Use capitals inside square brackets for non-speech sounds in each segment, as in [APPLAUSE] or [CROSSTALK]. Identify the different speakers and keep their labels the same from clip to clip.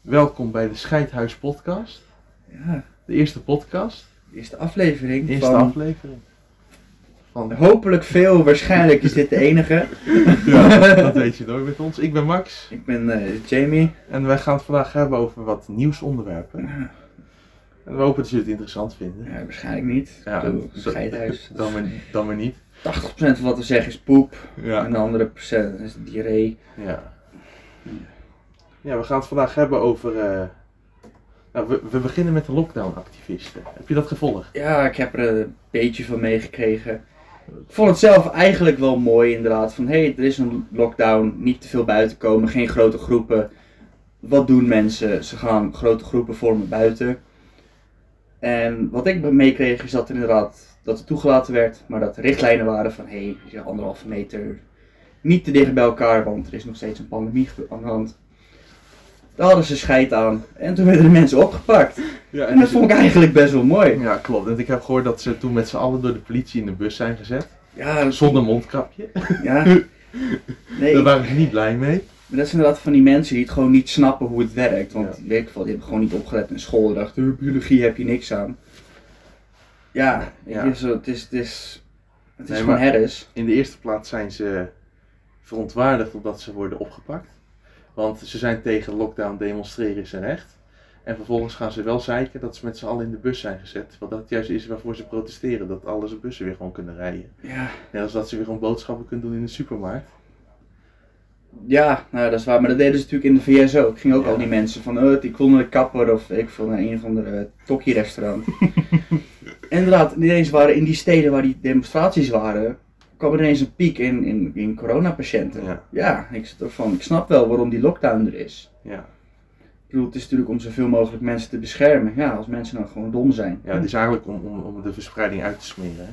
Speaker 1: Welkom bij de Scheidhuis Podcast.
Speaker 2: Ja,
Speaker 1: De eerste podcast.
Speaker 2: de eerste aflevering
Speaker 1: De eerste
Speaker 2: van...
Speaker 1: aflevering. Van
Speaker 2: Hopelijk veel, waarschijnlijk is dit de enige.
Speaker 1: [LAUGHS] ja, dat weet je nooit met ons. Ik ben Max
Speaker 2: Ik ben eh, Jamie.
Speaker 1: en wij gaan het vandaag hebben over wat nieuwsonderwerpen. En we hopen dat jullie het interessant vinden.
Speaker 2: Ja, waarschijnlijk niet. Ja,
Speaker 1: en
Speaker 2: een
Speaker 1: zo- [LAUGHS]
Speaker 2: scheidhuis.
Speaker 1: Dan maar, dan maar niet.
Speaker 2: 80% van wat we zeggen is poep. En
Speaker 1: Ja.
Speaker 2: de andere procent is diarree.
Speaker 1: ja. Ja, we gaan het vandaag hebben over... eh, nou, we, we beginnen met de lockdown-activisten. Heb je dat gevolgd?
Speaker 2: Ja, ik heb er een beetje van meegekregen. Ik vond het zelf eigenlijk wel mooi inderdaad. Van hé, hey, er is een lockdown. Niet te veel buiten komen. Geen grote groepen. Wat doen mensen? Ze gaan grote groepen vormen buiten. En wat ik meekreeg is dat er inderdaad dat het toegelaten werd. Maar dat er richtlijnen waren van hé, hey, anderhalve meter. Niet te dicht bij elkaar, want er is nog steeds een pandemie ge- aan de hand. Daar hadden ze scheid aan. En toen werden de mensen opgepakt.
Speaker 1: Ja,
Speaker 2: En dat vond ik eigenlijk best wel mooi.
Speaker 1: Ja, klopt. Want ik heb gehoord dat ze toen met z'n allen door de politie in de bus zijn gezet.
Speaker 2: Ja, dat-
Speaker 1: Zonder mondkapje.
Speaker 2: Ja. Nee,
Speaker 1: Daar
Speaker 2: maar
Speaker 1: waren ze niet blij mee.
Speaker 2: dat is inderdaad van die mensen die het gewoon niet snappen hoe het werkt. Want
Speaker 1: Ja.
Speaker 2: in weet ik veel, die hebben gewoon niet opgelet in school. Die dachten, "Huh, biologie heb je niks aan. Ja,
Speaker 1: Ja.
Speaker 2: Het, is, het is, het is, het is
Speaker 1: Nee,
Speaker 2: gewoon
Speaker 1: maar-
Speaker 2: herres.
Speaker 1: In de eerste plaats zijn ze verontwaardigd omdat ze worden opgepakt. Want ze zijn tegen lockdown, demonstreren is een recht. En vervolgens gaan ze wel zeiken dat ze met z'n allen in de bus zijn gezet. Want dat juist is waarvoor ze protesteren. Dat alle ze bussen weer gewoon kunnen rijden.
Speaker 2: Ja.
Speaker 1: Net als dat ze weer gewoon boodschappen kunnen doen in de supermarkt.
Speaker 2: ja, nou dat is waar. Maar dat deden ze natuurlijk in de VS ook. Gingen ook
Speaker 1: Ja.
Speaker 2: al die mensen van, eh, die konden de kapper of weet ik veel, naar een of ander tokkie
Speaker 1: [LAUGHS]
Speaker 2: restaurant. inderdaad, ineens waren in die steden waar die demonstraties waren, kwam er ineens een piek in, in, in coronapatiënten.
Speaker 1: Ja.
Speaker 2: Ja, ik, zit er van, ik snap wel waarom die lockdown er is.
Speaker 1: Ja,
Speaker 2: Ik bedoel, het is natuurlijk om zoveel mogelijk mensen te beschermen. Ja, als mensen nou gewoon dom zijn.
Speaker 1: ja het is eigenlijk om, om, om de verspreiding uit te smeren. hè.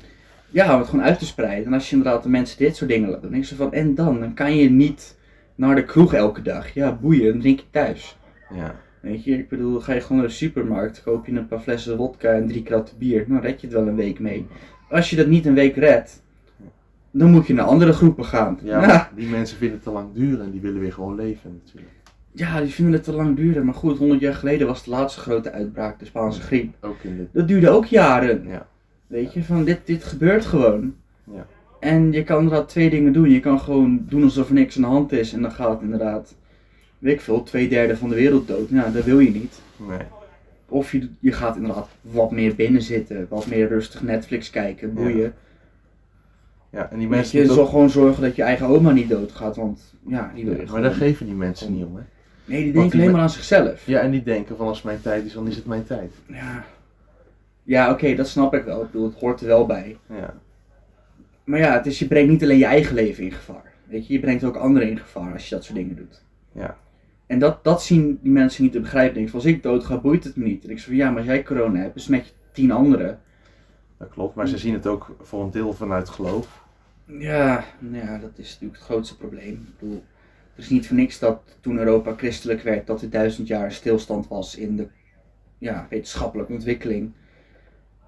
Speaker 2: Ja, om het gewoon uit te spreiden. En als je inderdaad de mensen dit soort dingen laat doen, dan is ze van, en dan? Dan kan je niet naar de kroeg elke dag. Ja, boeien, dan drink je thuis.
Speaker 1: Ja.
Speaker 2: Weet je, ik bedoel, ga je gewoon naar de supermarkt, koop je een paar flessen wodka en drie kratten bier, dan red je het wel een week mee. Als je dat niet een week redt, dan moet je naar andere groepen gaan.
Speaker 1: Ja,
Speaker 2: Nou,
Speaker 1: maar die mensen vinden het te lang duren en die willen weer gewoon leven natuurlijk.
Speaker 2: ja, die vinden het te lang duren. Maar goed, 100 jaar geleden was de laatste grote uitbraak, de Spaanse griep.
Speaker 1: Ook in de...
Speaker 2: Dat duurde ook jaren.
Speaker 1: Ja.
Speaker 2: Weet je, van dit, dit gebeurt gewoon.
Speaker 1: Ja.
Speaker 2: En je kan inderdaad twee dingen doen. Je kan gewoon doen alsof er niks aan de hand is. En dan gaat inderdaad, weet ik veel, twee derde van de wereld dood. Nou, dat wil je niet.
Speaker 1: Nee.
Speaker 2: Of je, je gaat inderdaad wat meer binnen zitten. Wat meer rustig Netflix kijken. Boeien.
Speaker 1: Ja, Ja, en die
Speaker 2: Weet
Speaker 1: mensen...
Speaker 2: je
Speaker 1: moeten
Speaker 2: zal
Speaker 1: ook-
Speaker 2: gewoon zorgen dat je eigen oma niet doodgaat. Want ja, die wil je
Speaker 1: Ja, maar
Speaker 2: gewoon.
Speaker 1: daar geven die mensen niet om, hè.
Speaker 2: Nee, die
Speaker 1: want
Speaker 2: denkt
Speaker 1: die
Speaker 2: alleen
Speaker 1: me-
Speaker 2: maar aan zichzelf.
Speaker 1: Ja, en die denken van als mijn tijd is, dan is het mijn tijd.
Speaker 2: Ja, ja oké, dat snap ik wel. Ik bedoel, het hoort er wel bij.
Speaker 1: Ja,
Speaker 2: Maar ja, het is, je brengt niet alleen je eigen leven in gevaar. Weet je, je brengt ook anderen in gevaar als je dat soort dingen doet.
Speaker 1: Ja.
Speaker 2: En dat, dat zien die mensen niet te begrijpen. Denk, van, als ik dood ga, boeit het me niet. En ik zeg van, ja, maar als jij corona hebt, besmet je tien anderen.
Speaker 1: dat klopt. Maar ze zien het ook voor een deel vanuit geloof.
Speaker 2: Ja, nou ja, dat is natuurlijk het grootste probleem. Ik bedoel, het is niet voor niks dat toen Europa christelijk werd, dat er duizend jaar een stilstand was in de ja, wetenschappelijke ontwikkeling.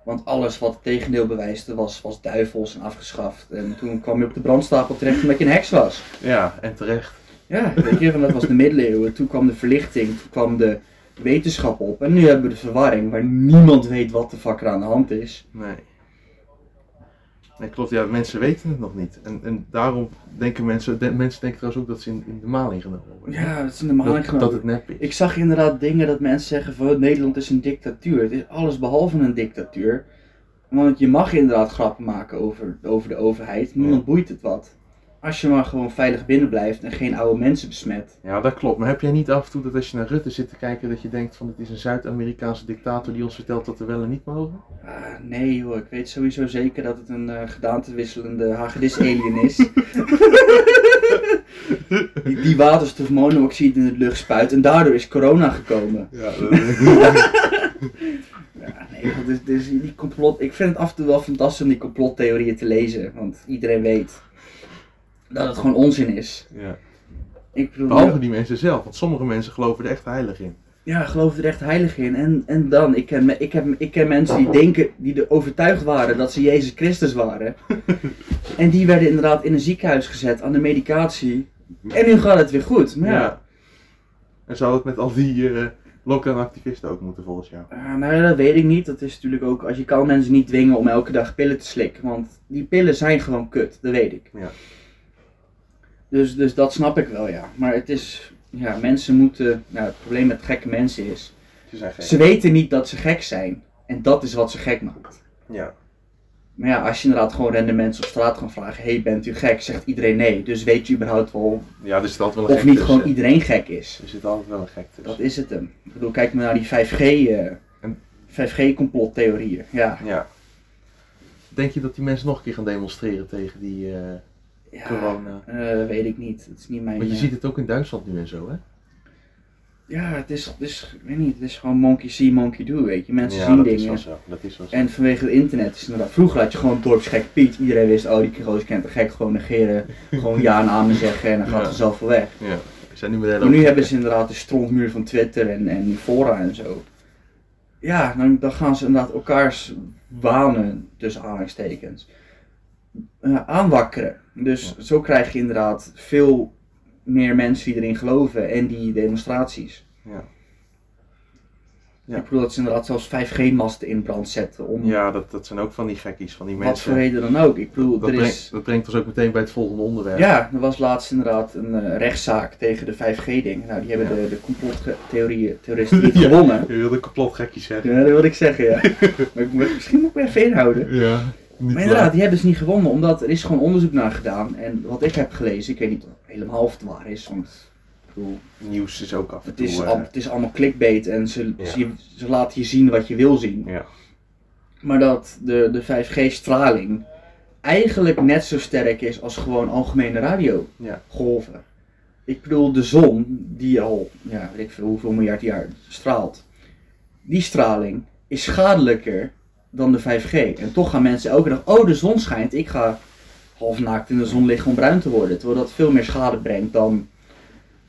Speaker 2: Want alles wat het tegendeel bewijsde was, was duivels en afgeschaft. En toen kwam je op de brandstapel terecht omdat je een heks was.
Speaker 1: Ja, en terecht.
Speaker 2: Ja, weet je, want dat was de middeleeuwen. Toen kwam de verlichting, toen kwam de wetenschap op. En nu hebben we de verwarring waar niemand weet wat de fuck er aan de hand is.
Speaker 1: Nee. Nee, klopt. Ja, mensen weten het nog niet. En, en daarom denken mensen... de- mensen denken trouwens ook dat ze in, in de maling genomen worden.
Speaker 2: Ja, dat is in de
Speaker 1: dat,
Speaker 2: maling
Speaker 1: dat
Speaker 2: genomen.
Speaker 1: het nep is.
Speaker 2: Ik zag inderdaad dingen dat mensen zeggen van "Oh, Nederland is een dictatuur. Het is alles behalve een dictatuur. Want je mag inderdaad grappen maken over, over de overheid. Niemand
Speaker 1: Ja.
Speaker 2: boeit het wat. Als je maar gewoon veilig binnen blijft en geen oude mensen besmet.
Speaker 1: Ja, dat klopt. Maar heb jij niet af en toe dat als je naar Rutte zit te kijken, dat je denkt van het is een Zuid-Amerikaanse dictator die ons vertelt dat we wel en niet mogen?
Speaker 2: Ah, nee joh, ik weet sowieso zeker dat het een eh gedaantewisselende hagedis-alien is. die, die waterstof monoxide in de lucht spuit en daardoor is corona gekomen.
Speaker 1: Ja,
Speaker 2: Ja, nee, want dit, dit is die complot, ik vind het af en toe wel fantastisch om die complottheorieën te lezen, want iedereen weet dat het gewoon onzin is.
Speaker 1: ja.
Speaker 2: Ik bedoel,
Speaker 1: Behalve die mensen zelf, want sommige mensen geloven er echt heilig in.
Speaker 2: Ja, geloof er echt heilig in. En, en dan, ik ken, me- ik, heb, ik ken mensen die denken, die er overtuigd waren dat ze Jezus Christus waren. en die werden inderdaad in een ziekenhuis gezet aan de medicatie. En nu gaat het weer goed. Maar ja.
Speaker 1: En zou dat met al die eh lockdown-activisten ook moeten volgens jou?
Speaker 2: Ah, nou ja, dat weet ik niet. Dat is natuurlijk ook, als je kan mensen niet dwingen om elke dag pillen te slikken. Want die pillen zijn gewoon kut, dat weet ik.
Speaker 1: Ja.
Speaker 2: Dus, dus dat snap ik wel, ja. Maar het is, ja, mensen moeten, nou het probleem met gekke mensen is,
Speaker 1: Ze zijn gek.
Speaker 2: ze weten niet dat ze gek zijn. En dat is wat ze gek maakt.
Speaker 1: Ja.
Speaker 2: Maar ja, als je inderdaad gewoon random mensen op straat gaat vragen, hey, bent u gek? Zegt iedereen nee. Dus weet je überhaupt wel
Speaker 1: ja, er zit altijd wel een
Speaker 2: of
Speaker 1: gek
Speaker 2: niet
Speaker 1: tussen.
Speaker 2: gewoon iedereen gek is.
Speaker 1: Er zit altijd wel een gek tussen.
Speaker 2: Dat is het hem. Ik bedoel, kijk maar naar die 5G, eh,
Speaker 1: En-
Speaker 2: 5G-complottheorieën. Ja.
Speaker 1: Ja. Denk je dat die mensen nog een keer gaan demonstreren tegen die eh,
Speaker 2: ja.
Speaker 1: corona?
Speaker 2: eh, weet ik niet. Het is niet mijn.
Speaker 1: Want je
Speaker 2: eh,
Speaker 1: ziet het ook in Duitsland nu en zo, hè?
Speaker 2: Ja, het is, het is, ik weet niet, het is gewoon monkey see, monkey do, weet je. Mensen
Speaker 1: ja,
Speaker 2: zien
Speaker 1: dat
Speaker 2: dingen.
Speaker 1: is wel zo. Dat is wel zo.
Speaker 2: En vanwege het internet is het inderdaad, vroeger had je gewoon dorpsgek Piet. Iedereen wist, oh die gozer kent een gek,
Speaker 1: [LAUGHS]
Speaker 2: gewoon negeren. gewoon ja en amen zeggen en dan gaat
Speaker 1: Ja.
Speaker 2: het zelf wel weg.
Speaker 1: Ja. Er zijn nu met hele
Speaker 2: Maar nu
Speaker 1: hoop-
Speaker 2: hebben ze inderdaad de strontmuur van Twitter en, en die fora en zo. Ja, dan, dan gaan ze inderdaad elkaars wanen, tussen aanhalingstekens, eh, aanwakkeren. Dus zo krijg je inderdaad veel meer mensen die erin geloven en die demonstraties.
Speaker 1: Ja. Ja.
Speaker 2: Ik bedoel dat ze inderdaad zelfs 5G-masten in brand zetten om
Speaker 1: Ja, dat, dat zijn ook van die gekkies, van die
Speaker 2: wat voor
Speaker 1: mensen.
Speaker 2: reden dan ook. Ik bedoel,
Speaker 1: dat,
Speaker 2: er
Speaker 1: brengt,
Speaker 2: is...
Speaker 1: dat brengt ons ook meteen bij het volgende onderwerp.
Speaker 2: Ja, er was laatst inderdaad een eh, rechtszaak tegen de 5G-ding. Nou, die hebben
Speaker 1: Ja.
Speaker 2: de, de complottheorieën,
Speaker 1: [LAUGHS]
Speaker 2: terroristen niet gewonnen.
Speaker 1: Je wilde complotgekkies zeggen.
Speaker 2: Ja, dat wil ik zeggen, ja. [LAUGHS] maar ik moet- misschien moet ik me even inhouden.
Speaker 1: Ja, niet
Speaker 2: Maar inderdaad, die hebben dus niet gewonnen, omdat er is gewoon onderzoek naar gedaan. En wat ik heb gelezen, ik weet niet helemaal of het waar is, want ik bedoel,
Speaker 1: waar. Nieuws is ook af en
Speaker 2: het,
Speaker 1: toe.
Speaker 2: is
Speaker 1: eh,
Speaker 2: al- het is allemaal clickbait en ze,
Speaker 1: Ja.
Speaker 2: ze, ze laten je zien wat je wil zien.
Speaker 1: eh, ja.
Speaker 2: Maar dat de, de 5G-straling eigenlijk net zo sterk is als gewoon
Speaker 1: Ja.
Speaker 2: algemene radiogolven. Ik bedoel, de zon, die al, ja, weet ik veel hoeveel miljard jaar straalt, die straling is schadelijker dan de 5G. En toch gaan mensen elke dag, oh de zon schijnt, ik ga half naakt in de zon liggen om bruin te worden. Terwijl dat veel meer schade brengt dan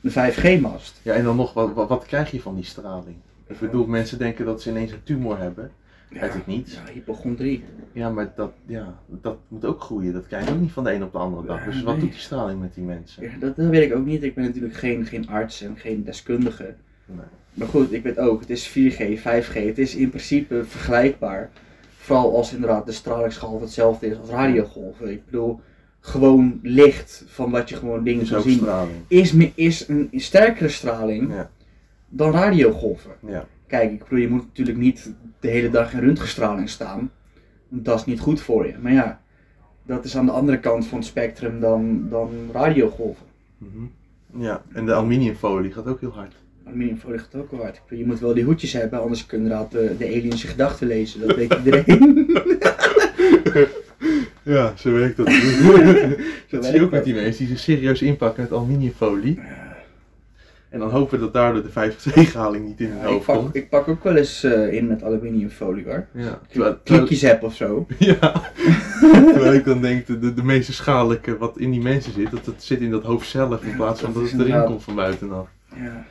Speaker 2: de 5G-mast.
Speaker 1: ja, en dan nog, wat, wat, wat krijg je van die straling? Ik bedoel, mensen denken dat ze ineens een tumor hebben. Uit het niets.
Speaker 2: Ja, hypochondrie.
Speaker 1: Ja, maar dat, ja, dat moet ook groeien. Dat krijg je ook niet van de een op de andere dag. Dus wat
Speaker 2: Nee.
Speaker 1: doet die straling met die mensen?
Speaker 2: Ja, dat, dat weet ik ook niet. Ik ben natuurlijk geen, geen arts en geen deskundige.
Speaker 1: Nee.
Speaker 2: Maar goed, ik weet ook, het is 4G, 5G. Het is in principe vergelijkbaar. Vooral als inderdaad de stralingsgolf hetzelfde is als radiogolven. Ik bedoel, gewoon licht van wat je gewoon dingen
Speaker 1: Dus
Speaker 2: zou
Speaker 1: ook
Speaker 2: zien. Hm?
Speaker 1: straling.
Speaker 2: Is, me- is een sterkere straling
Speaker 1: Ja.
Speaker 2: dan radiogolven.
Speaker 1: Ja,
Speaker 2: Kijk, ik bedoel, je moet natuurlijk niet de hele dag in röntgenstraling staan. Want dat is niet goed voor je. Maar ja, dat is aan de andere kant van het spectrum dan, dan radiogolven.
Speaker 1: Mhm. ja. en de aluminiumfolie gaat ook heel hard.
Speaker 2: Aluminiumfolie gaat ook wel hard. Ik bedoel, Je moet wel die hoedjes hebben, anders kun je inderdaad eh, de, de aliens je gedachten lezen. Dat weet
Speaker 1: [LAUGHS]
Speaker 2: iedereen.
Speaker 1: Ja, zo werkt [LAUGHS] dat. dat zie
Speaker 2: werkt
Speaker 1: je ook met
Speaker 2: dat.
Speaker 1: die mensen die ze serieus inpakken met aluminiumfolie. En dan hopen we dat daardoor de 5G-haling niet in hun
Speaker 2: Ja, ik,
Speaker 1: hoofd
Speaker 2: pak,
Speaker 1: komt.
Speaker 2: ik pak ook wel eens eh, in met aluminiumfolie hoor.
Speaker 1: Ja, terwijl, terwijl-
Speaker 2: Klikjes heb of zo.
Speaker 1: ja. [LAUGHS] terwijl ik dan denk, de, de, de meeste schadelijke wat in die mensen zit, dat het zit in dat hoofd zelf in plaats van
Speaker 2: dat
Speaker 1: dat
Speaker 2: is
Speaker 1: het erin
Speaker 2: inderdaad-
Speaker 1: komt van buitenaf.
Speaker 2: Ja.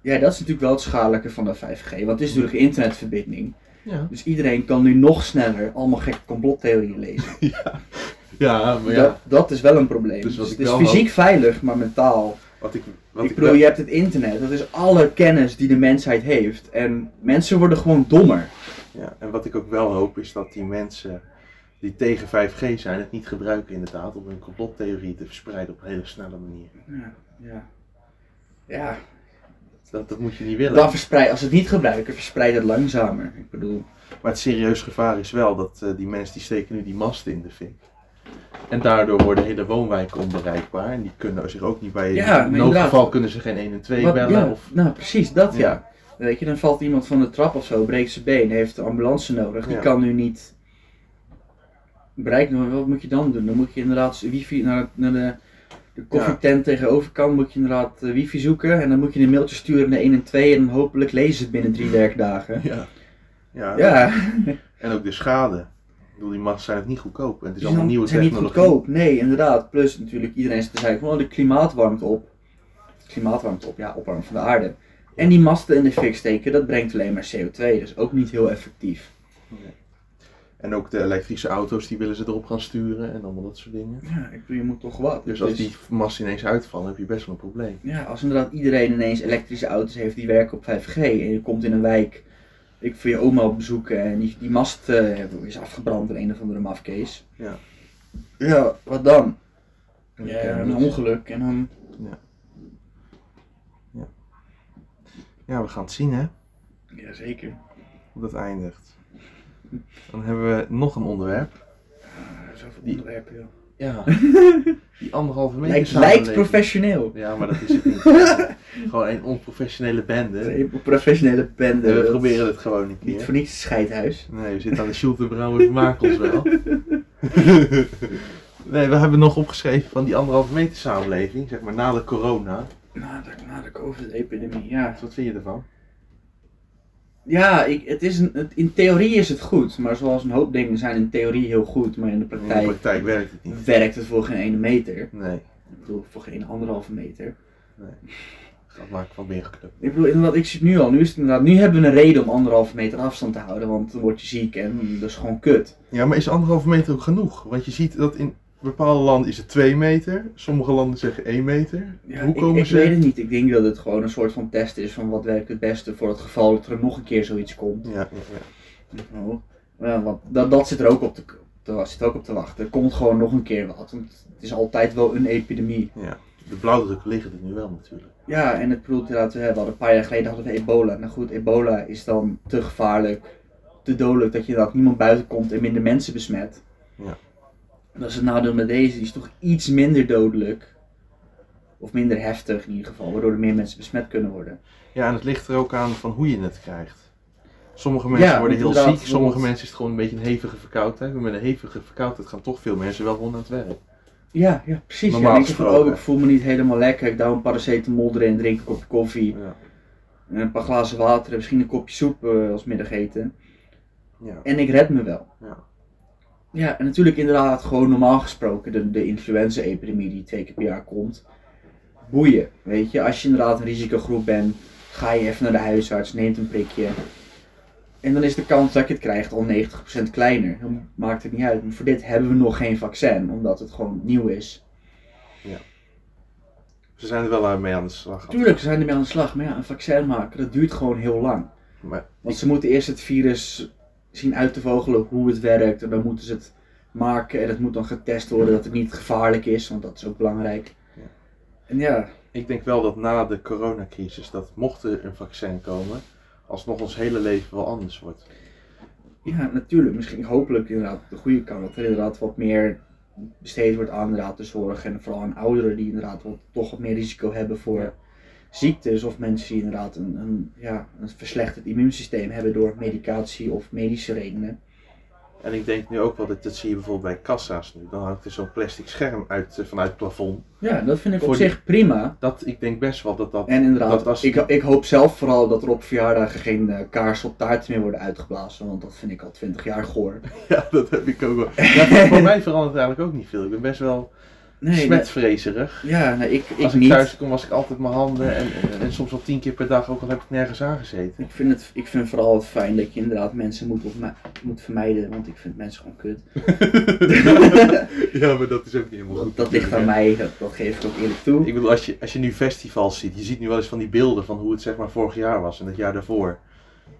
Speaker 2: ja, dat is natuurlijk wel het schadelijke van de 5G, want het is natuurlijk een internetverbinding.
Speaker 1: Ja.
Speaker 2: Dus iedereen kan nu nog sneller allemaal gekke complottheorieën lezen.
Speaker 1: ja, maar
Speaker 2: Dat,
Speaker 1: ja,
Speaker 2: dat is wel een probleem.
Speaker 1: Dus
Speaker 2: Dus
Speaker 1: wat ik
Speaker 2: het is
Speaker 1: wel
Speaker 2: fysiek veilig, maar mentaal
Speaker 1: wat ik, wat
Speaker 2: ik bedoel, je hebt het internet, dat is alle kennis die de mensheid heeft. En mensen worden gewoon dommer.
Speaker 1: Ja, en wat ik ook wel hoop is dat die mensen die tegen 5G zijn, het niet gebruiken inderdaad om hun complottheorie te verspreiden op een hele snelle manier.
Speaker 2: Ja, ja. Ja,
Speaker 1: Dat, dat moet je niet willen.
Speaker 2: dan verspreid, als ze het niet gebruiken, verspreid het langzamer. Ik bedoel,
Speaker 1: Maar het serieus gevaar is wel dat eh, die mensen die steken nu die mast in de fik. En daardoor worden hele woonwijken onbereikbaar en die kunnen zich ook niet bij
Speaker 2: Ja, maar
Speaker 1: in noodgeval
Speaker 2: inderdaad.
Speaker 1: kunnen ze geen 1 en 2
Speaker 2: wat-
Speaker 1: bellen
Speaker 2: ja,
Speaker 1: of
Speaker 2: nou precies, dat ja.
Speaker 1: Ja.
Speaker 2: Weet je, dan valt iemand van de trap of zo, breekt zijn been, heeft de ambulance nodig. Die
Speaker 1: Ja.
Speaker 2: kan nu niet bereikt worden. Wat moet je dan doen? Dan moet je inderdaad wifi naar, naar de, de koffietent tegenoverkant, moet je inderdaad eh, wifi zoeken. En dan moet je een mailtje sturen naar 1 en 2 en hopelijk lezen ze het binnen drie werkdagen.
Speaker 1: ja. Ja,
Speaker 2: Ja,
Speaker 1: en ook de schade. Ik bedoel, die masten zijn ook niet goedkoop. En het is
Speaker 2: die
Speaker 1: allemaal nieuwe
Speaker 2: zijn niet
Speaker 1: technologie.
Speaker 2: goedkoop. Nee, inderdaad. Plus natuurlijk, iedereen is te zeggen van oh, de klimaat warmt op. De klimaat warmt op, ja, opwarming van de aarde. En die masten in de fik steken, dat brengt alleen maar CO2, dus ook niet heel effectief.
Speaker 1: En ook de elektrische auto's, die willen ze erop gaan sturen en allemaal dat soort dingen.
Speaker 2: Ja, ik bedoel, je moet toch wat.
Speaker 1: Dus als
Speaker 2: Het is-
Speaker 1: die mast ineens uitvallen, heb je best wel een probleem.
Speaker 2: Ja, als inderdaad iedereen ineens elektrische auto's heeft die werken op 5G en je komt in een wijk, ik voor je oma op bezoek en die, die mast eh, is afgebrand in een of andere mafkees.
Speaker 1: Ja.
Speaker 2: Ja, wat dan? Ja,
Speaker 1: Ja,
Speaker 2: een ongeluk en dan...
Speaker 1: ja, we gaan het zien hè,
Speaker 2: Jazeker.
Speaker 1: hoe dat eindigt. Dan hebben we nog een onderwerp.
Speaker 2: Zoveel
Speaker 1: Die-
Speaker 2: onderwerpen, joh.
Speaker 1: [LAUGHS] Ja, die anderhalve meter
Speaker 2: Lijkt,
Speaker 1: samenleving.
Speaker 2: lijkt professioneel.
Speaker 1: Ja, maar dat is het [LAUGHS] niet. gewoon een onprofessionele bende.
Speaker 2: Een professionele
Speaker 1: En
Speaker 2: bende.
Speaker 1: we
Speaker 2: dat-
Speaker 1: proberen het gewoon een
Speaker 2: Niet
Speaker 1: keer.
Speaker 2: voor niets een scheidhuis.
Speaker 1: Nee, we zitten aan de Schultenbrouwer, we maken ons [LAUGHS] wel. nee, we hebben nog opgeschreven van die anderhalve meter samenleving, zeg maar na de corona.
Speaker 2: Na de, na de COVID-epidemie, ja.
Speaker 1: Dus wat vind je ervan?
Speaker 2: Ja, ik, het is een, het- in theorie is het goed, maar zoals een hoop dingen zijn in theorie heel goed, maar in de
Speaker 1: In de
Speaker 2: praktijk
Speaker 1: praktijk werkt het niet.
Speaker 2: werkt het voor geen ene meter.
Speaker 1: Nee,
Speaker 2: Ik bedoel, voor geen anderhalve meter.
Speaker 1: dat maakt van meer geklukt.
Speaker 2: Ik bedoel, inderdaad, ik zie het nu al. Nu, is het inderdaad, nu hebben we een reden om anderhalve meter afstand te houden, want dan word je ziek en dat is gewoon kut.
Speaker 1: Ja, maar is anderhalve meter ook genoeg? Want je ziet dat in bepaalde landen is het 2 meter, sommige landen zeggen 1 meter. Hoe
Speaker 2: ik,
Speaker 1: komen
Speaker 2: ik
Speaker 1: ze?
Speaker 2: weet het niet. Ik denk dat het gewoon een soort van test is van wat werkt het beste voor het geval dat er nog een keer zoiets komt.
Speaker 1: Ja, ja, ja.
Speaker 2: Nou, ja, want dat, dat zit er ook op te, te- zit ook op te wachten. Er komt gewoon nog een keer wat, want het is altijd wel een epidemie.
Speaker 1: ja. De blauwdrukken liggen er nu wel natuurlijk.
Speaker 2: Ja, en het bedoelt inderdaad, we hebben al een paar jaar geleden hadden we ebola. Nou goed, ebola is dan te gevaarlijk, te dodelijk dat je dat niemand buiten komt en minder mensen besmet.
Speaker 1: Ja.
Speaker 2: En dat is het nadeel met deze, die is toch iets minder dodelijk. Of minder heftig in ieder geval, waardoor er meer mensen besmet kunnen worden.
Speaker 1: Ja, en het ligt er ook aan van hoe je het krijgt. Sommige mensen
Speaker 2: Ja,
Speaker 1: worden heel
Speaker 2: inderdaad,
Speaker 1: ziek, sommige
Speaker 2: want-
Speaker 1: mensen is het gewoon een beetje een hevige verkoudheid. Maar met een hevige verkoudheid gaan toch veel mensen wel gewoon aan het werk.
Speaker 2: Ja, ja precies.
Speaker 1: Normaal
Speaker 2: ja, denk je van,
Speaker 1: gesproken.
Speaker 2: oh, ik voel me niet helemaal lekker, ik douw een paracetamol erin, drink een kopje koffie,
Speaker 1: Ja.
Speaker 2: en een paar glazen water en misschien een kopje soep eh, als middageten.
Speaker 1: Ja.
Speaker 2: En ik red me wel.
Speaker 1: Ja.
Speaker 2: Ja, en natuurlijk inderdaad gewoon normaal gesproken de, de influenza-epidemie die twee keer per jaar komt. Boeien, weet je. Als je inderdaad een risicogroep bent, ga je even naar de huisarts, neemt een prikje. En dan is de kans dat je het krijgt al 90% kleiner. Dan maakt het niet uit. Maar voor dit hebben we nog geen vaccin, omdat het gewoon nieuw is.
Speaker 1: Ze zijn er wel mee aan de slag.
Speaker 2: Tuurlijk, ze zijn ermee aan de slag. Maar ja, een vaccin maken, dat duurt gewoon heel lang.
Speaker 1: Maar
Speaker 2: Want ze moeten eerst het virus zien uit te vogelen hoe het werkt. En dan moeten ze het maken en het moet dan getest worden dat het niet gevaarlijk is, want dat is ook belangrijk.
Speaker 1: Ja.
Speaker 2: En ja,
Speaker 1: ik denk wel dat na de coronacrisis, dat mocht er een vaccin komen, alsnog ons hele leven wel anders wordt.
Speaker 2: ja, natuurlijk, misschien hopelijk inderdaad de goede kant. Dat er inderdaad wat meer besteed wordt aan inderdaad de zorg. En vooral aan ouderen die inderdaad wat, toch wat meer risico hebben voor
Speaker 1: Ja.
Speaker 2: ziektes. Of mensen die inderdaad een, een, ja, een verslechterd immuunsysteem hebben door medicatie of medische redenen.
Speaker 1: En ik denk nu ook wel, dat, dat zie je bijvoorbeeld bij kassa's nu, dan hangt er zo'n plastic scherm uit, eh, vanuit het plafond.
Speaker 2: Ja, dat vind ik
Speaker 1: Voor
Speaker 2: op
Speaker 1: die-
Speaker 2: zich prima.
Speaker 1: Dat, ik denk best wel dat dat...
Speaker 2: En inderdaad,
Speaker 1: Dat was-
Speaker 2: ik, ik hoop zelf vooral dat er op verjaardagen geen eh, kaarsen op taart meer worden uitgeblazen, want dat vind ik al twintig jaar goor.
Speaker 1: Ja, dat heb ik ook wel. Ja, voor-
Speaker 2: [LAUGHS]
Speaker 1: voor mij verandert het eigenlijk ook niet veel. Ik ben best wel smetvrezerig.
Speaker 2: nee, ja, nee, ik, ik
Speaker 1: Als ik
Speaker 2: niet.
Speaker 1: thuis kom, was ik altijd mijn handen en, en, en soms al tien keer per dag, ook al heb ik nergens
Speaker 2: [LAUGHS]
Speaker 1: aangezeten.
Speaker 2: Ik, vind het, ik vind vooral het fijn dat je inderdaad mensen moet, op moet vermijden, want ik vind mensen gewoon kut.
Speaker 1: ja, maar dat is ook niet helemaal
Speaker 2: Dat, dat ligt aan mij, dat, dat geef ik ook eerlijk toe.
Speaker 1: Ik bedoel, als je, als je nu festivals ziet, je ziet nu wel eens van die beelden van hoe het zeg maar vorig jaar was en het jaar daarvoor.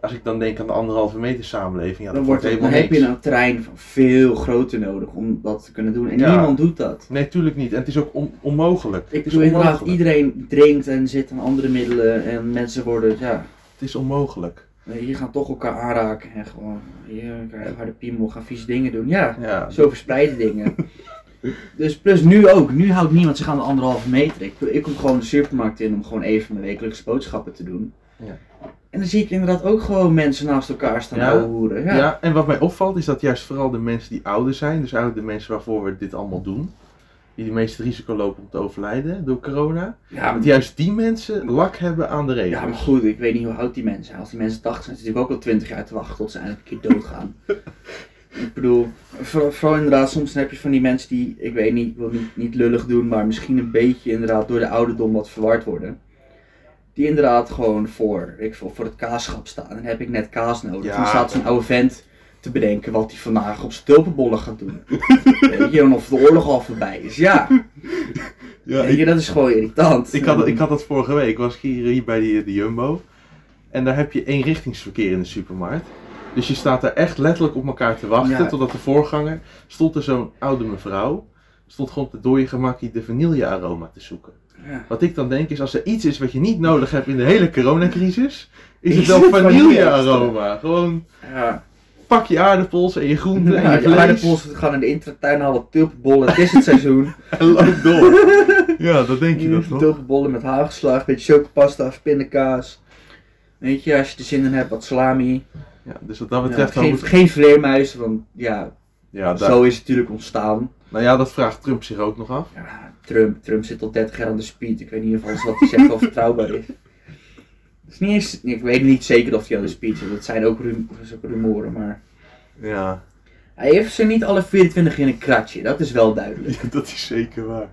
Speaker 1: Als ik dan denk aan de anderhalve meter samenleving, ja,
Speaker 2: dan
Speaker 1: dat
Speaker 2: wordt het-
Speaker 1: helemaal
Speaker 2: dan heb je
Speaker 1: niks.
Speaker 2: een terrein van veel groter nodig om dat te kunnen doen en
Speaker 1: Ja.
Speaker 2: niemand doet dat.
Speaker 1: Nee, tuurlijk niet. En het is ook on- onmogelijk.
Speaker 2: Ik
Speaker 1: het is
Speaker 2: bedoel, inderdaad,
Speaker 1: onmogelijk.
Speaker 2: iedereen drinkt en zit aan andere middelen en mensen worden, ja,
Speaker 1: Het is onmogelijk.
Speaker 2: Nee, je gaat toch elkaar aanraken en gewoon, je krijgt harde piemel, gaan vieze dingen doen. Ja,
Speaker 1: Ja,
Speaker 2: zo verspreiden
Speaker 1: [LAUGHS]
Speaker 2: dingen. dus plus nu ook, nu houdt niemand zich aan de anderhalve meter. Ik, ik kom gewoon de supermarkt in om gewoon even mijn wekelijkse boodschappen te doen.
Speaker 1: Ja.
Speaker 2: En dan zie ik inderdaad ook gewoon mensen naast elkaar staan
Speaker 1: Ja.
Speaker 2: ouwe hoeren. Ja.
Speaker 1: Ja. en wat mij opvalt is dat juist vooral de mensen die ouder zijn, dus eigenlijk de mensen waarvoor we dit allemaal doen, die het meeste risico lopen om te overlijden door corona,
Speaker 2: Ja,
Speaker 1: dat
Speaker 2: maar,
Speaker 1: juist die mensen lak hebben aan de regels.
Speaker 2: ja, maar goed, ik weet niet hoe oud die mensen zijn. Als die mensen 80 zijn, zitten natuurlijk ook al 20 jaar te wachten tot ze eindelijk een
Speaker 1: [LAUGHS]
Speaker 2: keer doodgaan. Ik bedoel, voor- vooral inderdaad, soms heb je van die mensen die, ik weet niet, ik wil niet, niet lullig doen, maar misschien een beetje inderdaad door de ouderdom wat verward worden. Die inderdaad gewoon voor, weet ik veel, voor het kaasschap staan. Dan heb ik net kaas nodig.
Speaker 1: Ja,
Speaker 2: dan staat zo'n oude vent te te bedenken wat hij vandaag op zijn tulpenbollen gaat
Speaker 1: [LAUGHS]
Speaker 2: doen. Weet je, en of de oorlog al voorbij is. Ja,
Speaker 1: Ja,
Speaker 2: weet je,
Speaker 1: ik,
Speaker 2: dat is gewoon irritant.
Speaker 1: ik, had, ik had dat vorige week. Was ik hier, hier bij die, de Jumbo. En daar heb je eenrichtingsverkeer in de supermarkt. Dus je staat daar echt letterlijk op elkaar te wachten.
Speaker 2: Ja.
Speaker 1: Totdat de voorganger. stond er zo'n oude mevrouw. stond gewoon op de dode gemakkie de vanillearoma te zoeken.
Speaker 2: Ja.
Speaker 1: Wat ik dan denk is, als er iets is wat je niet nodig hebt in de hele coronacrisis, is het
Speaker 2: Is
Speaker 1: wel
Speaker 2: het
Speaker 1: vanillearoma. Gewoon
Speaker 2: Ja.
Speaker 1: pak je aardappels en je groenten en
Speaker 2: Ja,
Speaker 1: je
Speaker 2: de
Speaker 1: vlees
Speaker 2: aardappels gaan in de intratuin halen tulpenbollen. Het is het seizoen.
Speaker 1: en loop [LAUGHS] door. ja, dat [LAUGHS] denk je dat toch?
Speaker 2: Tulpenbollen met haagslag, beetje chocopasta of pindakaas. Weet je, als je er zin in hebt, wat salami.
Speaker 1: Ja, dus wat dat
Speaker 2: Ja,
Speaker 1: betreft dan
Speaker 2: geen,
Speaker 1: moet...
Speaker 2: geen vleermuis, want ja,
Speaker 1: Ja, daar-
Speaker 2: zo is het natuurlijk ontstaan.
Speaker 1: Nou ja, dat vraagt Trump zich ook nog af.
Speaker 2: Ja, Trump, Trump zit al 30 jaar aan de speed. Ik weet niet of alles wat hij zegt wel vertrouwbaar is. Het is niet eens, ik weet niet zeker of hij aan de speed zit. Dat zijn ook, rum, dat is ook rumoren, maar...
Speaker 1: [LAUGHS] Ja,
Speaker 2: Hij heeft ze niet alle 24 in een kratje, dat is wel duidelijk.
Speaker 1: dat is zeker waar.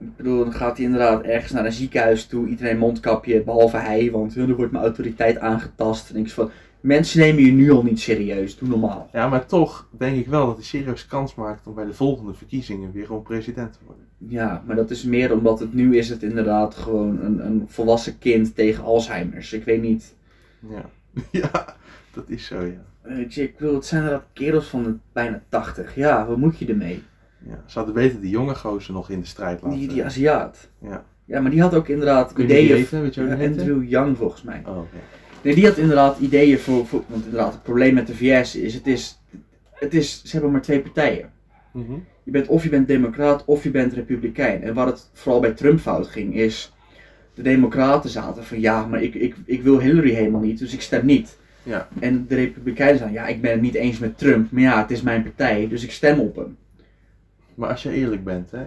Speaker 2: Ik bedoel, dan gaat hij inderdaad ergens naar een ziekenhuis toe, iedereen mondkapje, behalve hij, want ja, dan wordt mijn autoriteit aangetast. En ik van, mensen nemen je nu al niet serieus, doe normaal.
Speaker 1: Ja, maar toch denk ik wel dat hij serieus kans maakt om bij de volgende verkiezingen weer gewoon president te worden.
Speaker 2: Ja, maar dat is meer omdat het nu is het inderdaad gewoon een, een volwassen kind tegen Alzheimer's. Ik weet niet,
Speaker 1: Ja, [LAUGHS] ja dat is zo, ja.
Speaker 2: weet je, Eh, ik bedoel, het zijn inderdaad kerels van de bijna 80. Ja, wat moet je ermee?
Speaker 1: ja. Ze hadden beter die jonge gozer nog in de strijd laten.
Speaker 2: Die, die Aziat.
Speaker 1: Ja.
Speaker 2: Ja, maar die had ook inderdaad
Speaker 1: Kun je die
Speaker 2: ideeën.
Speaker 1: heten? Weet je hoe die
Speaker 2: Ja,
Speaker 1: heten?
Speaker 2: Andrew Young volgens mij.
Speaker 1: Oh, oké.
Speaker 2: Nee, die had inderdaad ideeën voor, voor- Want inderdaad, het probleem met de VS is het, is. het is. Ze hebben maar twee partijen.
Speaker 1: Mhm.
Speaker 2: Je bent of je bent democraat of je bent republikein. En waar het vooral bij Trump fout ging, is. De democraten zaten van ja, maar ik, ik, ik wil Hillary helemaal niet, dus ik stem niet.
Speaker 1: Ja.
Speaker 2: En de republikeinen zeiden ja, ik ben het niet eens met Trump, maar ja, het is mijn partij, dus ik stem op hem.
Speaker 1: Maar als je eerlijk bent, hè,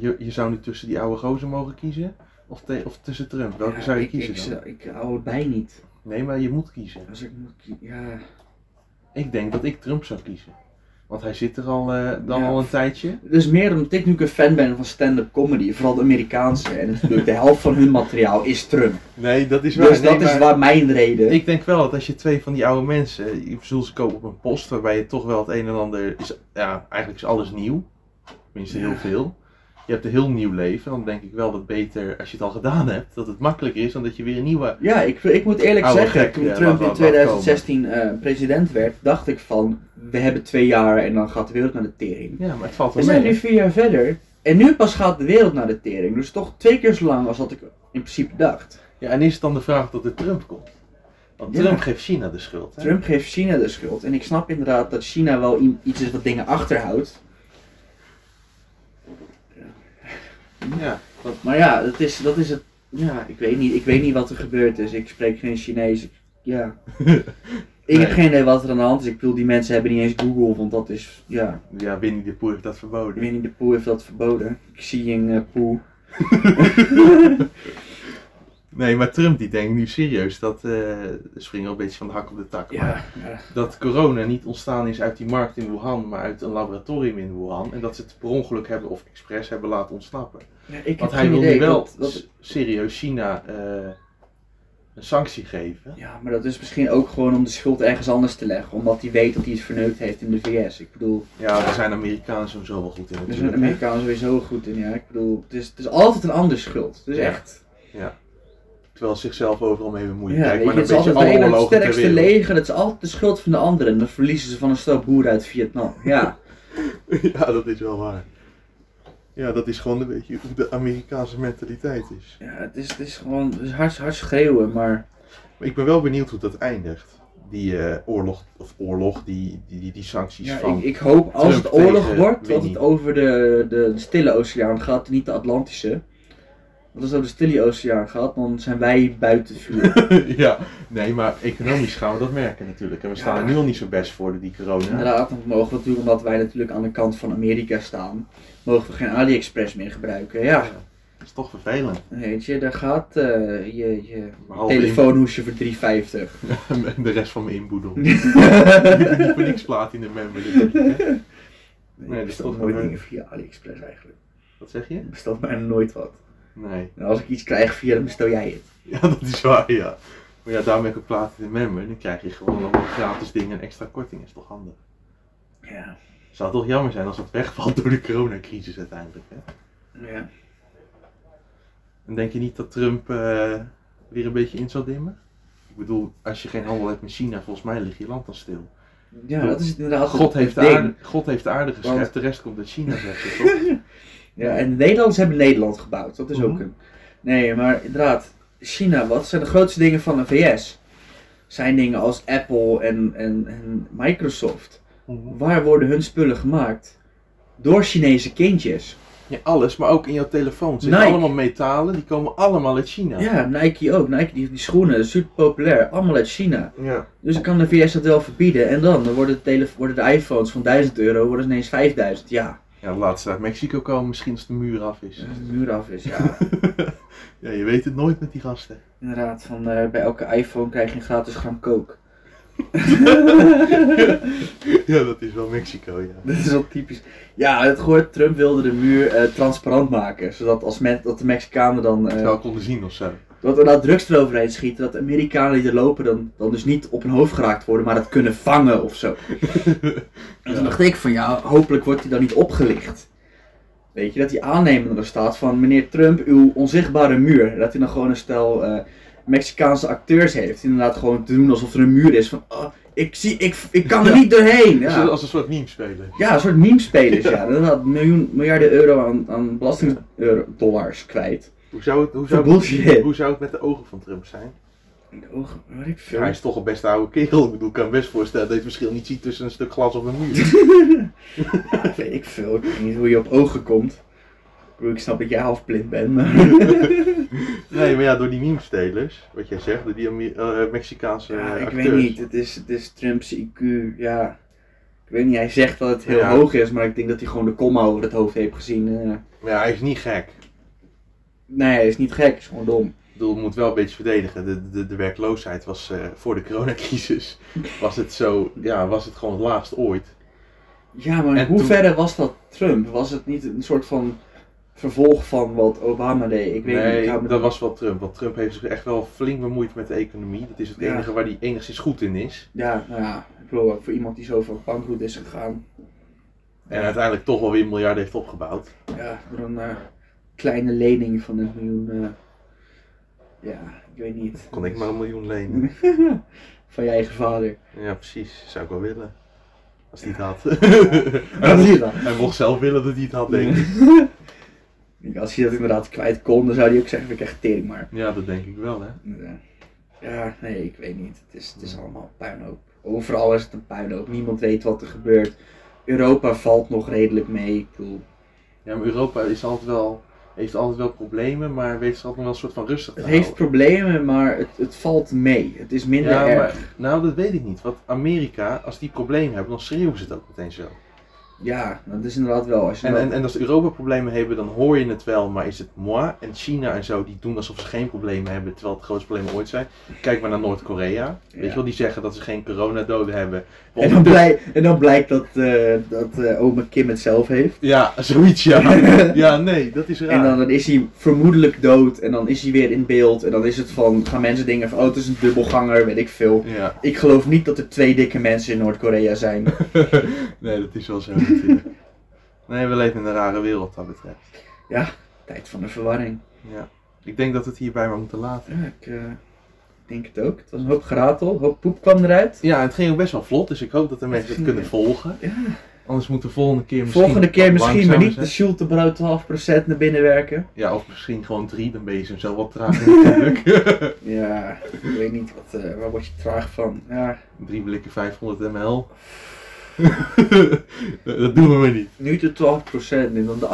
Speaker 1: je, je zou nu tussen die oude gozer mogen kiezen of, te- of tussen Trump. Welke
Speaker 2: Ja,
Speaker 1: zou je
Speaker 2: ik-
Speaker 1: kiezen
Speaker 2: ik,
Speaker 1: dan?
Speaker 2: zou- Ik, hou het bij niet.
Speaker 1: Nee, maar je moet kiezen.
Speaker 2: Als ik moet kie- ja.
Speaker 1: Ik denk dat ik Trump zou kiezen. Want hij zit er al, eh, dan
Speaker 2: Ja.
Speaker 1: al een tijdje.
Speaker 2: Dus meer omdat ik nu een fan ben van stand-up comedy, vooral de Amerikaanse. En natuurlijk de helft van hun materiaal is Trump.
Speaker 1: Nee, dat is
Speaker 2: Dus dat is waar mijn reden.
Speaker 1: Ik denk wel dat als je twee van die oude mensen, eh, je bedoelt ze kopen op een post waarbij je toch wel het een en ander is, ja, eigenlijk is alles nieuw. Tenminste heel
Speaker 2: Ja.
Speaker 1: veel. Je hebt een heel nieuw leven, dan denk ik wel dat beter, als je het al gedaan hebt, dat het makkelijker is dan dat je weer een nieuwe...
Speaker 2: Ja, ik, ik moet eerlijk
Speaker 1: Oude
Speaker 2: zeggen,
Speaker 1: gek,
Speaker 2: toen
Speaker 1: Ah, ja, laat-
Speaker 2: Trump in
Speaker 1: laat-
Speaker 2: 2016 eh, president werd, dacht ik van, we hebben twee jaar en dan gaat de wereld naar de tering.
Speaker 1: Ja, maar het valt
Speaker 2: We
Speaker 1: wel
Speaker 2: zijn nu
Speaker 1: mee.
Speaker 2: vier jaar verder en nu pas gaat de wereld naar de tering. Dus toch twee keer zo lang als dat ik in principe dacht.
Speaker 1: Ja, en is het dan de vraag dat het Trump komt? Want
Speaker 2: Ja.
Speaker 1: Trump geeft China de schuld. Hè?
Speaker 2: Trump geeft China de schuld. En ik snap inderdaad dat China wel i- iets is wat dingen achterhoudt.
Speaker 1: Ja, want
Speaker 2: Maar ja, dat is, dat is het. Ja, ik weet, niet, ik weet niet wat er gebeurd is. Ik spreek geen Chinees. Ik- Ja.
Speaker 1: [LAUGHS]
Speaker 2: Ik
Speaker 1: Nee.
Speaker 2: heb geen idee wat er aan de hand is. Ik bedoel, die mensen hebben niet eens Google, want dat is. Ja.
Speaker 1: ja, Winnie de Poer heeft dat verboden.
Speaker 2: Winnie de Pooh heeft dat verboden. eh, Xi Pooh.
Speaker 1: Nee, maar Trump die denkt nu serieus dat, eh springen wel een beetje van de hak op de tak, maar
Speaker 2: Ja.
Speaker 1: dat corona niet ontstaan is uit die markt in Wuhan, maar uit een laboratorium in Wuhan. En dat ze het per ongeluk hebben of expres hebben laten ontsnappen.
Speaker 2: ik heb
Speaker 1: Want hij
Speaker 2: geen
Speaker 1: wil
Speaker 2: idee.
Speaker 1: nu wel
Speaker 2: wat- wat-
Speaker 1: s- serieus China eh, een sanctie geven.
Speaker 2: ja, maar dat is misschien ook gewoon om de schuld ergens anders te leggen. Omdat hij weet dat hij het verneukt heeft in de VS. Ik bedoel,
Speaker 1: Ja, daar zijn Amerikanen sowieso wel goed in
Speaker 2: daar zijn
Speaker 1: natuurlijk.
Speaker 2: de
Speaker 1: hè?
Speaker 2: Amerikanen sowieso goed in. Ja, ik bedoel, het is, het is altijd een ander schuld. Dus
Speaker 1: Ja.
Speaker 2: echt.
Speaker 1: Terwijl ze zichzelf overal mee bemoeien.
Speaker 2: Ja,
Speaker 1: Kijk
Speaker 2: weet je,
Speaker 1: maar een
Speaker 2: het is
Speaker 1: beetje
Speaker 2: altijd het
Speaker 1: alle
Speaker 2: ene het
Speaker 1: oorlogen ter
Speaker 2: sterkste
Speaker 1: wereld.
Speaker 2: leger. Het is altijd de schuld van de anderen. En dan verliezen ze van een stel boeren
Speaker 1: [LAUGHS]
Speaker 2: uit Vietnam. Ja.
Speaker 1: ja, dat is wel waar. Ja, dat is gewoon een beetje hoe de Amerikaanse mentaliteit is.
Speaker 2: ja het, is, het is gewoon het is hard, hard schreeuwen, maar.
Speaker 1: Maar ik ben wel benieuwd hoe dat eindigt. Die eh, oorlog, of oorlog, die, die, die, die sancties
Speaker 2: Ja,
Speaker 1: van...
Speaker 2: ik, ik hoop als
Speaker 1: Trump
Speaker 2: het oorlog
Speaker 1: tegen
Speaker 2: wordt, dat
Speaker 1: Winnie.
Speaker 2: het over de, de Stille Oceaan gaat, niet de Atlantische. Want als het over de Stille Oceaan gaat, dan zijn wij buiten
Speaker 1: [LAUGHS]
Speaker 2: vuur.
Speaker 1: ja, nee, maar economisch gaan we dat merken natuurlijk. En we staan er nu al niet zo best voor, door die corona.
Speaker 2: Inderdaad, dat mogen we natuurlijk, omdat wij natuurlijk aan de kant van Amerika staan, mogen we geen AliExpress meer gebruiken. Ja,
Speaker 1: Dat is toch vervelend.
Speaker 2: weet je, daar gaat eh, je, je
Speaker 1: Behalve
Speaker 2: telefoonhoesje voor 3,50.
Speaker 1: in- [LAUGHS] de rest van mijn
Speaker 2: [LAUGHS]
Speaker 1: inboedel. Die voor niks platinum member. dit heb je, hè?
Speaker 2: Nee,
Speaker 1: dat
Speaker 2: ik
Speaker 1: is
Speaker 2: bestel
Speaker 1: toch
Speaker 2: nooit
Speaker 1: wel-
Speaker 2: dingen via AliExpress eigenlijk.
Speaker 1: Wat zeg je?
Speaker 2: Ik bestel bijna nooit wat.
Speaker 1: Nee. [LAUGHS]
Speaker 2: En als ik iets krijg via, dan bestel jij het.
Speaker 1: Ja, dat is waar, ja. Maar Maar ja, daarom heb ik een Platinum Member. Dan krijg je gewoon allemaal gratis dingen en extra korting. Is toch handig?
Speaker 2: Ja.
Speaker 1: Zou toch jammer zijn als dat wegvalt door de coronacrisis uiteindelijk, hè?
Speaker 2: ja.
Speaker 1: En denk je niet dat Trump eh, weer een beetje in zal dimmen? Ik bedoel, als je geen handel hebt met China, volgens mij ligt je land dan stil.
Speaker 2: Ja, dat is het inderdaad
Speaker 1: God heeft, de
Speaker 2: het
Speaker 1: aarde, God heeft de aarde geschept,
Speaker 2: Want-
Speaker 1: de rest komt uit China, zeg je toch?
Speaker 2: Ja, en de Nederlanders hebben Nederland gebouwd. Dat is ook
Speaker 1: Mhm.
Speaker 2: een. Nee, maar inderdaad, China, wat zijn de grootste dingen van de VS? Zijn dingen als Apple en, en, en Microsoft. [LAUGHS] Waar worden hun spullen gemaakt? Door Chinese kindjes.
Speaker 1: Ja, alles, maar ook in jouw telefoon. Er zitten
Speaker 2: Nike.
Speaker 1: allemaal metalen, die komen allemaal uit China.
Speaker 2: Ja, Nike ook. Nike, die, die schoenen, super populair. Allemaal uit China.
Speaker 1: Ja.
Speaker 2: Dus dan kan de VS dat wel verbieden. En dan, dan worden, de tele- worden de iPhones van 1000 euro worden ze ineens 5000. Ja, dus
Speaker 1: Ja, laatst uit Mexico komen, misschien als de muur af is.
Speaker 2: als de muur af is. Ja,
Speaker 1: Ja, je weet het nooit met die gasten.
Speaker 2: [LAUGHS] inderdaad. Van, eh, bij elke iPhone krijg je een gratis gram coke. [LAUGHS]
Speaker 1: [LAUGHS] ja, dat is wel Mexico, ja.
Speaker 2: Dat is wel typisch. Ja, het gehoord, Trump wilde de muur eh, transparant maken. Zodat als men, dat de Mexicanen dan. eh
Speaker 1: Zou ik konden zien of zo.
Speaker 2: dat er nou drugs eroverheen schieten. Dat de Amerikanen die er lopen dan, dan dus niet op hun hoofd geraakt worden. Maar dat kunnen vangen of [LAUGHS] zo. En toen dacht ik van ja, hopelijk wordt hij dan niet opgelicht. Weet je, dat die aannemer er staat van meneer Trump, uw onzichtbare muur. Dat hij dan gewoon een stel eh, Mexicaanse acteurs heeft. die Inderdaad gewoon te doen alsof er een muur is van. "Ah, ik zie, ik, ik kan [LAUGHS] er niet doorheen. Ja.
Speaker 1: Als- Als een soort meme spelen.
Speaker 2: Ja, een soort meme-spelers, ja. Dat had miljoen, miljarden euro aan, aan belastingdollars kwijt.
Speaker 1: Hoe zou, het, hoe,
Speaker 2: Voor
Speaker 1: zou het,
Speaker 2: bullshit.
Speaker 1: hoe zou het met de ogen van Trump zijn?
Speaker 2: Oh, wat ik
Speaker 1: Ja,
Speaker 2: veel.
Speaker 1: hij is toch een best oude kerel. Ik bedoel, ik kan me best voorstellen dat je het verschil niet ziet tussen een stuk glas of een
Speaker 2: [LAUGHS]
Speaker 1: muur.
Speaker 2: Ja, [LAUGHS] weet ik veel. Ik weet niet hoe je op ogen komt. Ik bedoel, Ik snap dat jij half blind bent, maar...
Speaker 1: Nee, maar ja, door die meme-stelers, wat jij zegt, door die Amer- eh, Mexicaanse
Speaker 2: Ja,
Speaker 1: eh,
Speaker 2: [LAUGHS] ik
Speaker 1: acteurs.
Speaker 2: weet niet. Het is, het is Trump's IQ, ja... Ik weet niet, hij zegt dat het heel
Speaker 1: Ja.
Speaker 2: hoog is, maar ik denk dat hij gewoon de komma over het hoofd heeft gezien. eh.
Speaker 1: Maar ja, hij is niet gek.
Speaker 2: nee, hij is niet gek, hij is gewoon dom.
Speaker 1: Ik bedoel, ik moet wel een beetje verdedigen. De, de, de werkloosheid was eh, voor de coronacrisis, was het zo, ja, was het gewoon het laagst ooit.
Speaker 2: Ja, maar
Speaker 1: En
Speaker 2: in
Speaker 1: toen-
Speaker 2: hoeverre was dat Trump? Was het niet een soort van vervolg van wat Obama deed? Ik weet niet. ik
Speaker 1: Nee,
Speaker 2: hou me-
Speaker 1: dat was wel Trump. Want Trump heeft zich echt wel flink bemoeid met de economie. Dat is het
Speaker 2: Ja.
Speaker 1: enige waar hij enigszins goed in is.
Speaker 2: Ja, nou ja, ik bedoel, ook voor iemand die zoveel bankroet is gegaan.
Speaker 1: En uiteindelijk toch wel weer miljarden heeft opgebouwd.
Speaker 2: Ja, voor een eh, kleine lening van een miljoen. eh, ja, ik weet niet.
Speaker 1: Kon ik maar een miljoen lenen.
Speaker 2: [LAUGHS] van je eigen vader.
Speaker 1: Ja, precies. Zou ik wel willen. Als hij het had. [LAUGHS]
Speaker 2: Dat is het dan.
Speaker 1: hij mocht zelf willen dat hij het had, denk ik.
Speaker 2: [LAUGHS] Ik, Als hij dat inderdaad kwijt kon, dan zou hij ook zeggen: ik krijg tering maar.
Speaker 1: Ja, dat denk ik wel, hè.
Speaker 2: Eh, Ja, nee, ik weet niet. Het is, het is allemaal puinhoop. Overal is het een puinhoop. Niemand weet wat er gebeurt. Europa valt nog redelijk mee. Ik bedoel,
Speaker 1: Ja, maar Europa is altijd wel, heeft altijd wel problemen, maar weet ze altijd nog wel een soort van rustig te
Speaker 2: het heeft
Speaker 1: houden.
Speaker 2: problemen, maar het, het valt mee. Het is minder
Speaker 1: Ja,
Speaker 2: erg.
Speaker 1: maar nou, dat weet ik niet. Want Amerika, als die problemen hebben, dan schreeuwen ze het ook meteen zo.
Speaker 2: Ja, dat is inderdaad wel. Als je
Speaker 1: En,
Speaker 2: dat-
Speaker 1: en, en als Europa problemen hebben, dan hoor je het wel, maar is het moi? En China en zo, die doen alsof ze geen problemen hebben, terwijl het grootste probleem ooit zijn. Kijk maar naar Noord-Korea. Weet
Speaker 2: Ja.
Speaker 1: je wel, die zeggen dat ze geen coronadoden hebben.
Speaker 2: En dan, blij, en dan blijkt dat, eh dat eh, oma Kim het zelf heeft.
Speaker 1: Ja, zoiets
Speaker 2: [LAUGHS]
Speaker 1: ja. ja, nee, dat is raar.
Speaker 2: En dan, dan is hij vermoedelijk dood. En dan is hij weer in beeld. En dan is het van, gaan mensen dingen van, oh het is een dubbelganger, weet ik veel.
Speaker 1: Ja, [LAUGHS]
Speaker 2: Ik geloof niet dat er twee dikke mensen in Noord-Korea zijn.
Speaker 1: nee, dat is wel zo natuurlijk. Nee, we leven in een rare wereld wat dat betreft.
Speaker 2: Tijd van de verwarring.
Speaker 1: Ja. Ik denk dat we het hierbij maar moeten laten.
Speaker 2: Ja, ik eh, denk het ook. Het was een hoop geratel, een hoop poep kwam eruit.
Speaker 1: Ja, het ging ook best wel vlot, dus ik hoop dat de mensen het kunnen volgen.
Speaker 2: Ja.
Speaker 1: Anders moeten we volgende keer misschien...
Speaker 2: Volgende keer
Speaker 1: wat
Speaker 2: misschien, maar niet
Speaker 1: langzamer
Speaker 2: de Schultebrouw 12% naar binnen werken.
Speaker 1: zijn. Ja, of misschien gewoon drie, dan ben je zo wat traag
Speaker 2: [LAUGHS]
Speaker 1: natuurlijk.
Speaker 2: Ja, ik weet niet, wat, eh, waar word je traag van? Ja,
Speaker 1: drie blikken 500 ml. [LAUGHS] dat doen we maar niet.
Speaker 2: Nu de 12% en dan de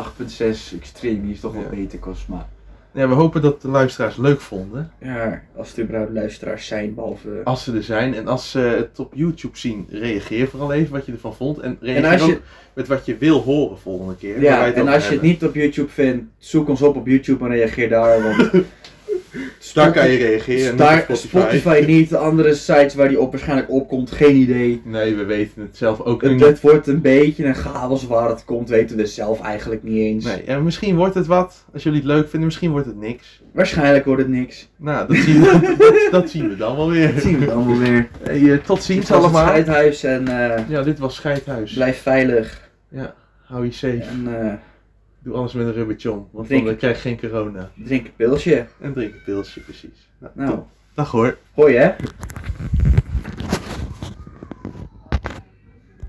Speaker 2: 8,6 extreem, die is toch wel
Speaker 1: Ja.
Speaker 2: beter qua smaak.
Speaker 1: Ja, we hopen dat de luisteraars leuk vonden.
Speaker 2: Ja, als het überhaupt luisteraars zijn, behalve...
Speaker 1: Als ze er zijn en als ze het op YouTube zien, reageer vooral even wat je ervan vond. En
Speaker 2: en
Speaker 1: reageer
Speaker 2: als
Speaker 1: ook
Speaker 2: je,
Speaker 1: met wat je wil horen volgende keer. waar wij
Speaker 2: ja,
Speaker 1: het
Speaker 2: en
Speaker 1: over
Speaker 2: als je het
Speaker 1: hebben. [LAUGHS]
Speaker 2: niet op YouTube vindt, zoek ons op op YouTube en reageer daar, want...
Speaker 1: Daar kan je reageren.
Speaker 2: Daar-
Speaker 1: niet op
Speaker 2: Spotify. niet, de andere sites waar die op waarschijnlijk opkomt, geen idee.
Speaker 1: Nee, we weten het zelf ook
Speaker 2: Het,
Speaker 1: niet.
Speaker 2: het wordt een beetje een chaos waar het komt, weten we zelf eigenlijk niet eens.
Speaker 1: Nee, en misschien wordt het wat. Als jullie het leuk vinden, misschien wordt het niks.
Speaker 2: Waarschijnlijk wordt het
Speaker 1: [LAUGHS]
Speaker 2: niks.
Speaker 1: Nou, dat zien we, [LAUGHS] dat, dat zien we dan wel
Speaker 2: Dat
Speaker 1: weer.
Speaker 2: zien we dan wel weer.
Speaker 1: Hey, eh, tot
Speaker 2: Het
Speaker 1: ziens
Speaker 2: was het
Speaker 1: allemaal.
Speaker 2: scheidhuis en eh,
Speaker 1: Ja, dit was Scheidhuis.
Speaker 2: blijf veilig.
Speaker 1: Hou je safe.
Speaker 2: En eh,
Speaker 1: Doe alles met een rubbertjon, want
Speaker 2: Drink
Speaker 1: dan
Speaker 2: het.
Speaker 1: krijg je geen corona.
Speaker 2: drink een pilsje.
Speaker 1: En drink een pilsje, precies. Nou,
Speaker 2: Nou,
Speaker 1: Dag hoor.
Speaker 2: hoi hè.